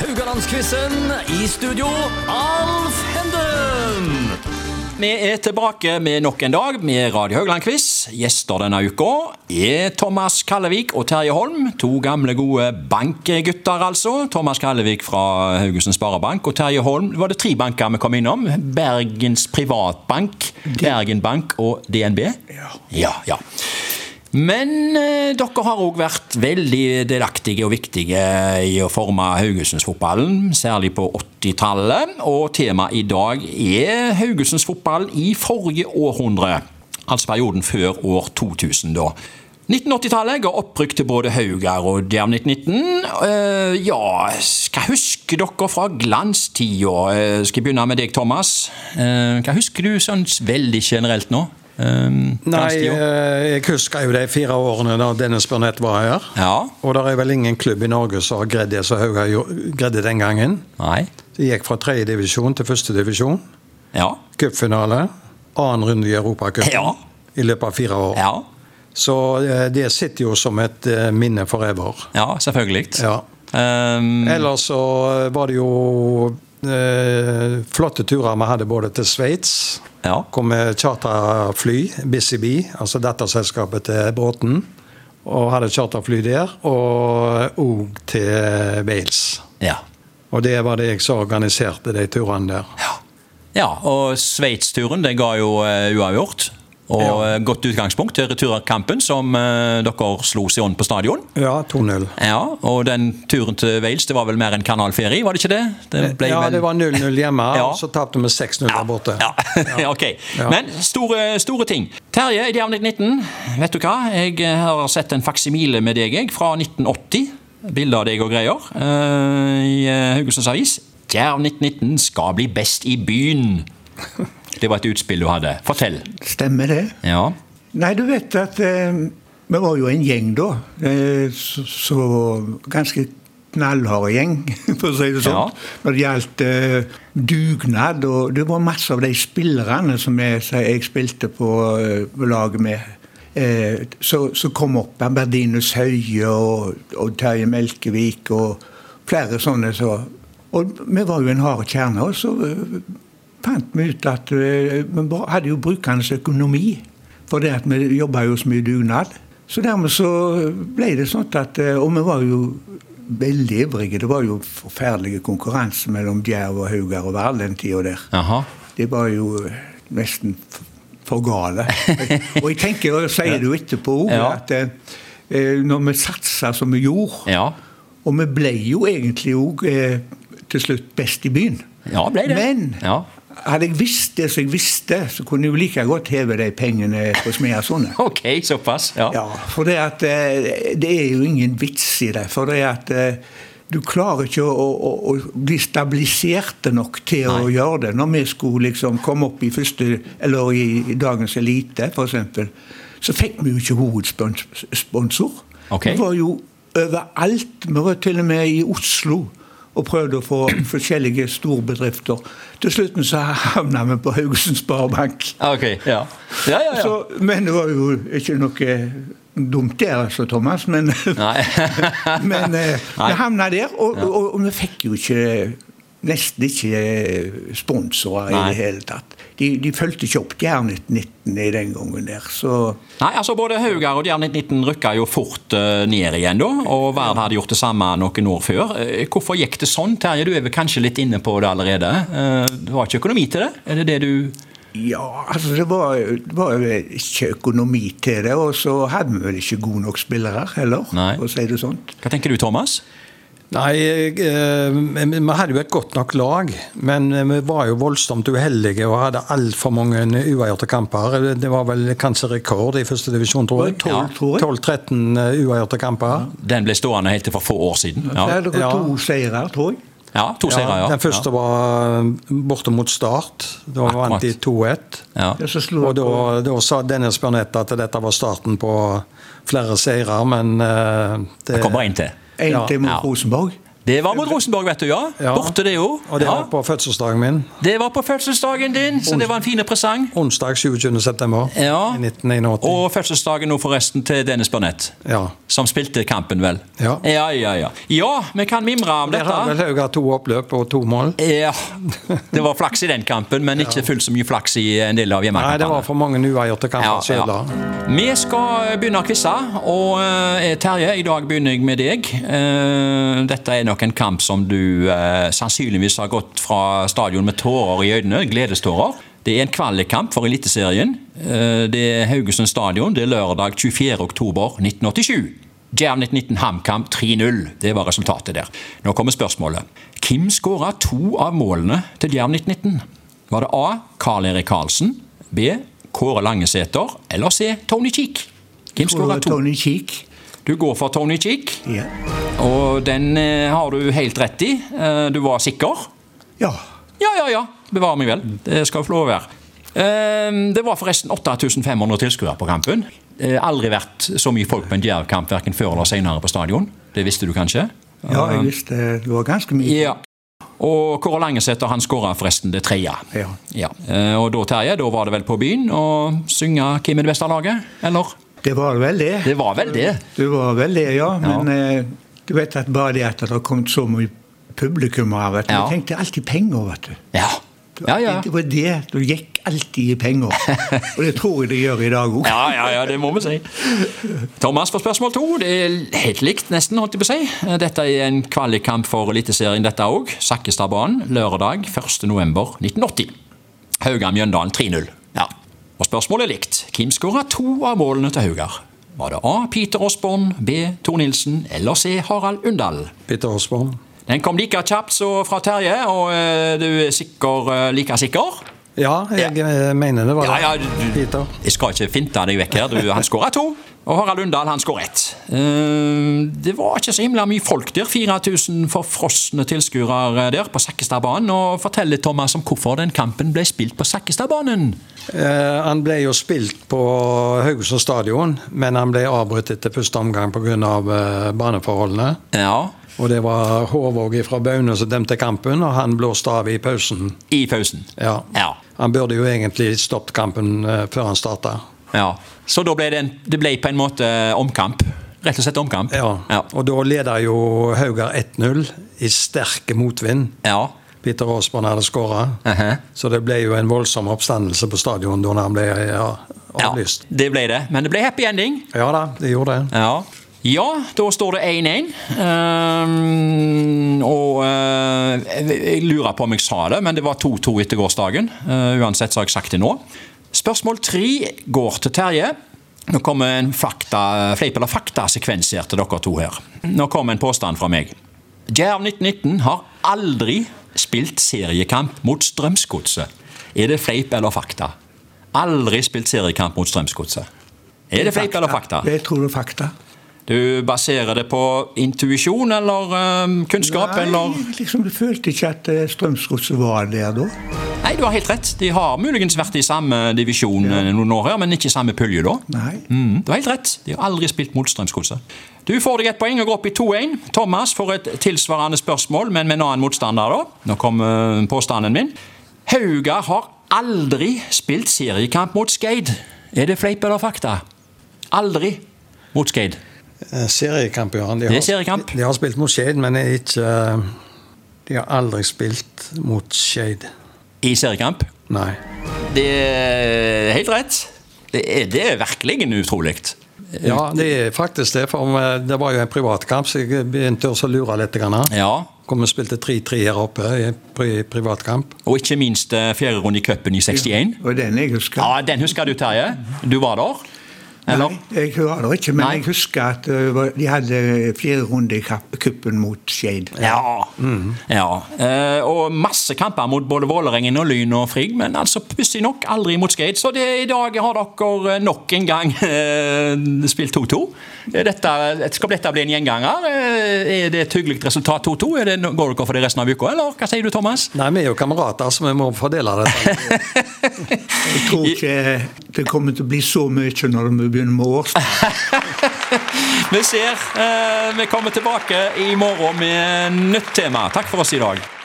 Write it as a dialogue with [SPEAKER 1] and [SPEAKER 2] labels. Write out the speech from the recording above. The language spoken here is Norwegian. [SPEAKER 1] Rogalandsquizen. I studio, Alf Henden.
[SPEAKER 2] Vi er tilbake med nok en dag med Radio Haugland-quiz. Gjester denne uka er Thomas Kallevik og Terje Holm. To gamle, gode bankgutter, altså. Thomas Kallevik fra Haugesund Sparebank og Terje Holm. Var det tre banker vi kom innom? Bergens Privatbank, Bergen Bank og DNB? Ja. ja, ja. Men eh, dere har òg vært veldig delaktige og viktige i å forme Haugesundsfotballen, særlig på 80-tallet. Og temaet i dag er Haugesundsfotball i forrige århundre. Altså perioden før år 2000, da. 1980-tallet ga opprykk til både Haugar og Djerv 1919. Eh, ja, hva husker dere fra glanstida? Eh, skal jeg begynne med deg, Thomas? Eh, hva husker du sånn veldig generelt nå? Eh,
[SPEAKER 3] Nei,
[SPEAKER 2] glanstida?
[SPEAKER 3] eh, jeg husker jo de fire årene da Dennis Burnett var her.
[SPEAKER 2] Ja.
[SPEAKER 3] Og det er vel ingen klubb i Norge som har greid det som Hauga gjo- greide den gangen.
[SPEAKER 2] Nei.
[SPEAKER 3] De gikk fra tredje divisjon til første divisjon.
[SPEAKER 2] Ja.
[SPEAKER 3] Cupfinale. Annen runde i Europacupen
[SPEAKER 2] Ja.
[SPEAKER 3] i løpet av fire år.
[SPEAKER 2] Ja,
[SPEAKER 3] Så eh, det sitter jo som et eh, minne forever.
[SPEAKER 2] ja selvfølgelig.
[SPEAKER 3] Ja.
[SPEAKER 2] Ehm,
[SPEAKER 3] Ellers så eh, var det jo eh, flotte turer vi hadde både til Sveits
[SPEAKER 2] ja.
[SPEAKER 3] kom med charterfly, Busy Bee, altså datterselskapet til Bråten. Og hadde charterfly der, og òg til Wales.
[SPEAKER 2] ja.
[SPEAKER 3] Og det var det jeg som organiserte de turene der.
[SPEAKER 2] Ja, og Sveits-turen det ga jo eh, uavgjort. Og eh, godt utgangspunkt til returkampen som eh, dere slo seg ånd på stadion.
[SPEAKER 3] Ja, 2-0.
[SPEAKER 2] Ja, Og den turen til Wales det var vel mer en kanalferie, var det ikke det? Det ble
[SPEAKER 3] Eh, Ja,
[SPEAKER 2] vel-
[SPEAKER 3] det var 0-0 hjemme,
[SPEAKER 2] Ja.
[SPEAKER 3] og så tapte vi 6-0 der borte.
[SPEAKER 2] Ja, ja ok.
[SPEAKER 3] Ja.
[SPEAKER 2] Men store, store ting. Terje i Djerv 1919, vet du hva? Jeg eh, har sett en faksimile med deg jeg, fra 1980. Bilder av deg og greier eh, i eh, Haugesunds Avis. Djerv 1919 skal bli best i byen. Det var et utspill du hadde. Fortell.
[SPEAKER 4] Stemmer det?
[SPEAKER 2] Ja.
[SPEAKER 4] Nei, du vet at eh, vi var jo en gjeng da. Eh, så, så ganske knallhard gjeng, for å si det sånn.
[SPEAKER 2] Ja.
[SPEAKER 4] Når det gjaldt eh, dugnad og Det var masse av de spillerne som jeg, som jeg spilte på eh, laget med. Eh, så, så kom opp Berdinus Høie og, og Terje Melkevik og flere sånne. Så. Og vi var jo en hard kjerne. Og så eh, fant vi ut at eh, vi ba- hadde jo brukernes økonomi. For det at vi jobba jo så mye dugnad. Så dermed så ble det sånn at eh, Og vi var jo veldig ivrige. Det var jo forferdelige konkurranse mellom Djerv og Haugar og Vard den tida der.
[SPEAKER 2] Jaha.
[SPEAKER 4] Det var jo eh, nesten f- for gale. Og jeg tenker, og jeg sier det jo etterpå òg,
[SPEAKER 2] Ja.
[SPEAKER 4] at eh, eh, når vi satsa som vi gjorde
[SPEAKER 2] Ja.
[SPEAKER 4] Og vi ble jo egentlig òg eh, til slutt best i byen.
[SPEAKER 2] Ja, ble det.
[SPEAKER 4] Men
[SPEAKER 2] Ja.
[SPEAKER 4] hadde jeg visst det som jeg visste, så kunne jeg jo like godt heve de pengene på Smeasundet.
[SPEAKER 2] Ok, såpass. Ja.
[SPEAKER 4] Ja, for det, at, eh, det er jo ingen vits i det. For det at eh, du klarer ikke å, å, å bli stabiliserte nok til å
[SPEAKER 2] Nei.
[SPEAKER 4] gjøre det. Når vi skulle liksom komme opp i, første, eller i, i dagens elite, f.eks., så fikk vi jo ikke hovedsponsor.
[SPEAKER 2] Ok.
[SPEAKER 4] Vi var jo overalt. Vi var til og med i Oslo og prøvde å få forskjellige storbedrifter. Til slutten så havna vi på Haugesund Sparebank.
[SPEAKER 2] Ok, ja. Ja, ja, ja.
[SPEAKER 4] Så, men det var jo ikke noe dumt der, altså, Thomas. Men,
[SPEAKER 2] Nei.
[SPEAKER 4] men
[SPEAKER 2] Nei.
[SPEAKER 4] eh, vi havna der, og, og, og vi fikk jo ikke Nesten ikke eh, sponsorer i
[SPEAKER 2] Nei.
[SPEAKER 4] det hele tatt. De, de fulgte ikke opp Jern 1919 i den gangen der. Så
[SPEAKER 2] Nei, altså Både Haugar og Djerv 1919 rykka jo fort eh, ned igjen, da, og Vard hadde gjort det samme noen år før. Eh, hvorfor gikk det sånn? Terje, du er vel kanskje litt inne på det allerede. Eh, det var ikke økonomi til det? Er det det du
[SPEAKER 4] ja, altså det var, det var jo ikke økonomi til det. Og så hadde vi vel ikke gode nok spillere heller,
[SPEAKER 2] Nei.
[SPEAKER 4] for å si det sånn. sånt.
[SPEAKER 2] Hva tenker du, Thomas?
[SPEAKER 3] Nei, jeg, eh, vi hadde jo et godt nok lag, men eh, vi var jo voldsomt uheldige og hadde altfor mange uavgjorte kamper. Det var vel kanskje rekord i første divisjon, tror jeg.
[SPEAKER 4] Det var 12, tror jeg.
[SPEAKER 3] 12-13 uavgjorte kamper.
[SPEAKER 2] Den ble stående helt til for få år siden.
[SPEAKER 4] Ja.
[SPEAKER 2] Ja,
[SPEAKER 4] Det var
[SPEAKER 3] Ja.
[SPEAKER 4] to seire, tror jeg.
[SPEAKER 2] ja to seire, ja.
[SPEAKER 3] Den første var borte mot Start. Da
[SPEAKER 2] Akkurat.
[SPEAKER 3] vant de 2-1.
[SPEAKER 2] Ja.
[SPEAKER 4] Ja, så slo
[SPEAKER 3] Og
[SPEAKER 4] jeg på-
[SPEAKER 3] da, da sa Dennis Bernett at dette var starten på flere seire, men eh,
[SPEAKER 2] Det kom bare én til.
[SPEAKER 4] En
[SPEAKER 3] Ja.
[SPEAKER 4] til mot
[SPEAKER 2] Ja.
[SPEAKER 4] Rosenborg.
[SPEAKER 2] Det var mot Rosenborg, vet du, ja.
[SPEAKER 3] Ja.
[SPEAKER 2] Borte, det jo.
[SPEAKER 3] Og det
[SPEAKER 2] ja.
[SPEAKER 3] var på fødselsdagen min.
[SPEAKER 2] det var på fødselsdagen din, så det var en fin presang.
[SPEAKER 3] Onsdag 27. september
[SPEAKER 2] Ja.
[SPEAKER 3] i 1981.
[SPEAKER 2] Og fødselsdagen nå forresten til Dennis Burnett.
[SPEAKER 3] Ja.
[SPEAKER 2] Som spilte kampen, vel?
[SPEAKER 3] Ja.
[SPEAKER 2] ja, ja. Ja, ja vi kan mimre om
[SPEAKER 3] Der har
[SPEAKER 2] dette.
[SPEAKER 3] vel Hauga to oppløp og to mål.
[SPEAKER 2] Ja, Det var flaks i den kampen, men ikke fullt så mye flaks i en del av
[SPEAKER 3] Nei, det var
[SPEAKER 2] hjemmekampene.
[SPEAKER 3] for mange uavgjorte kamper.
[SPEAKER 2] Ja, ja.
[SPEAKER 3] sjeler.
[SPEAKER 2] Vi skal begynne å quize, og eh, Terje, i dag begynner jeg med deg. Eh, Dette er nok en kamp som du eh, sannsynligvis har gått fra stadion med tårer i øynene, gledestårer. Det er en kvalikkamp for Eliteserien. Eh, Det er Haugesund stadion. Det er lørdag 24.10.1987. Jerv 1919 HamKam 3-0. Det var resultatet der. Nå kommer spørsmålet. Hvem skåra to av målene til Jerv 1919? Var det A. Karl Erik Karlsen? B. Kåre Langesæter? Eller C. Tony Cheek? Hvem
[SPEAKER 4] Tror det
[SPEAKER 2] skåra
[SPEAKER 4] var
[SPEAKER 2] to?
[SPEAKER 4] Tony Kik.
[SPEAKER 2] Du går for Tony Cheek,
[SPEAKER 4] Ja.
[SPEAKER 2] og den eh, har du helt rett i. Eh, Du var sikker.
[SPEAKER 4] ja.
[SPEAKER 2] Ja, ja, ja. Bevare meg vel. Det skal få lov å være. Ehm, Det var forresten 8500 tilskuere på kampen. Eh, Aldri vært så mye folk på en Djerv-kamp, verken før eller senere på stadion. Det visste du kanskje?
[SPEAKER 4] Ja, jeg visste det var ganske mye.
[SPEAKER 2] Ja. Og Kåre Langesæter han skåra forresten det tredje.
[SPEAKER 4] Ja.
[SPEAKER 2] Eh, Og da, Terje, da var det vel på byen å synge 'Hvem er det beste laget'? Eller?
[SPEAKER 4] Det var vel det.
[SPEAKER 2] Det var vel det.
[SPEAKER 4] Det var vel det, ja.
[SPEAKER 2] Ja.
[SPEAKER 4] Men eh, du vet at bare det at det har kommet så mye publikum her, vet du.
[SPEAKER 2] Ja.
[SPEAKER 4] Jeg tenkte alltid penger, vet du.
[SPEAKER 2] Ja. Ja, ja.
[SPEAKER 4] Det var det. Det gikk alltid i penger. Og det tror jeg det gjør i dag òg.
[SPEAKER 2] Ja, ja, ja, det må vi si. Thomas får spørsmål to. Det er helt likt, nesten, holdt jeg på å si. Dette er en kvalikkamp for Eliteserien, dette òg. Sakkestadbanen, lørdag 1.11.1980. Haugar-Mjøndalen 3-0. Ja. Og spørsmålet er likt. Hvem skåra to av målene til Haugar? Var det A. Peter Osborn, B. Tor Nilsen eller C. Harald Undal?
[SPEAKER 3] Peter Osborn.
[SPEAKER 2] Den kom like kjapt så fra Terje, og eh, du er sikker, eh, like sikker?
[SPEAKER 3] Ja, jeg eh, mener det var
[SPEAKER 2] Ja, ja,
[SPEAKER 3] det.
[SPEAKER 2] du-
[SPEAKER 3] Peter.
[SPEAKER 2] Jeg skal ikke finte deg vekk her. Du, han skåra to, og Harald Undal han skåra ett. Eh, Det var ikke så himla mye folk der. 4000 forfrosne tilskuere der på Sakkestadbanen. Og fortell litt, Thomas, om hvorfor den kampen ble spilt på Sakkestadbanen.
[SPEAKER 3] Eh, han ble jo spilt på Haugesund stadion, men han ble avbrutt etter første omgang pga. Eh, baneforholdene.
[SPEAKER 2] Ja,
[SPEAKER 3] Og det var Hårvåg fra Baune som dømte kampen, og han blåste av i pausen.
[SPEAKER 2] i pausen.
[SPEAKER 3] Ja.
[SPEAKER 2] Ja.
[SPEAKER 3] Han burde jo egentlig stoppet kampen eh, før han starta.
[SPEAKER 2] ja. Så da ble det, en, det ble på en måte omkamp. Rett og slett omkamp.
[SPEAKER 3] Ja.
[SPEAKER 2] Ja.
[SPEAKER 3] Og da leder jo Haugar 1-0 i sterke motvind.
[SPEAKER 2] ja.
[SPEAKER 3] Peter Aasbond hadde skåra,
[SPEAKER 2] Mhm.
[SPEAKER 3] så det ble jo en voldsom oppstandelse på stadion da han ble ja,
[SPEAKER 2] ja.
[SPEAKER 3] avlyst.
[SPEAKER 2] Det ble det. Men det ble happy ending.
[SPEAKER 3] Ja. da, det gjorde det.
[SPEAKER 2] Ja. Ja, da står det 1-1. Ehm, og eh, jeg jeg lurer på om jeg sa det, men det var 2-2 etter gårsdagen. Eh, uansett så har jeg sagt det nå. Spørsmål tre går til Terje. Nå kommer en fakta, fleip eller faktasekvens her til dere to her. Nå kommer en påstand fra meg. Jerv 1919 har aldri spilt seriekamp mot Strømsgodset. Er det fleip eller fakta? Aldri spilt seriekamp mot Strømsgodset. Er det fleip eller fakta?
[SPEAKER 4] Jeg tror det er fakta.
[SPEAKER 2] Du baserer det på intuisjon eller øhm, kunnskap eller
[SPEAKER 4] Nei, liksom, du følte ikke at eh, Strømsgodset var der da.
[SPEAKER 2] Nei, du har helt rett. De har muligens vært i samme divisjon eh, noen år her, men ikke i samme pulje da.
[SPEAKER 4] Nei.
[SPEAKER 2] Mm, du har helt rett. De har aldri spilt mot Strømsgodset. Du får deg et poeng og går opp i 2-1. Thomas får et tilsvarende spørsmål, men med en annen motstander, da. Nå kom eh, påstanden min. Haugar har aldri spilt seriekamp mot Skeid. Er det fleip eller fakta? Aldri mot Skeid.
[SPEAKER 3] Eh, Seriekamp, ja. De
[SPEAKER 2] Det er seriekamp.
[SPEAKER 3] De har spilt mot Skeid, men er ikke eh, De har aldri spilt mot Skeid.
[SPEAKER 2] I seriekamp?
[SPEAKER 3] Nei.
[SPEAKER 2] Det er helt rett. Det er, det er virkelig utrolig.
[SPEAKER 3] Ja, det er faktisk det, for eh, det var jo en privatkamp, så jeg begynte også å lure litt. Grann. her.
[SPEAKER 2] Ja.
[SPEAKER 3] Kom og spilte 3-3 her oppe i en pri privatkamp.
[SPEAKER 2] Og ikke minst eh, fjerde runde i cupen i 61.
[SPEAKER 4] Og den jeg husker.
[SPEAKER 2] Ja, Den husker du, Terje. Du var der? Eller?
[SPEAKER 4] Nei, jeg var der ikke, men
[SPEAKER 2] Nei.
[SPEAKER 4] jeg husker at eh, var- de hadde flere runder i kap- kuppen mot Skeid.
[SPEAKER 2] Ja. Mm. ja. Eh, Og masse kamper mot både Vålerengen og Lyn og Frigg, men altså pussig nok aldri mot Skeid. Så det, i dag har dere eh, nok en gang eh, spilt 2-2. Er Dette, skal dette bli en gjenganger? Eh, Er det et hyggelig resultat 2-2? Er det no- Går dere for det resten av uka, eller hva sier du, Thomas?
[SPEAKER 3] Nei, vi er jo kamerater, så vi må fordele det.
[SPEAKER 4] Jeg tror ikke det kommer til å bli så mye når vi begynner med års.
[SPEAKER 2] Vi ser. eh, Vi kommer tilbake i morgen med nytt tema. Takk for oss i dag.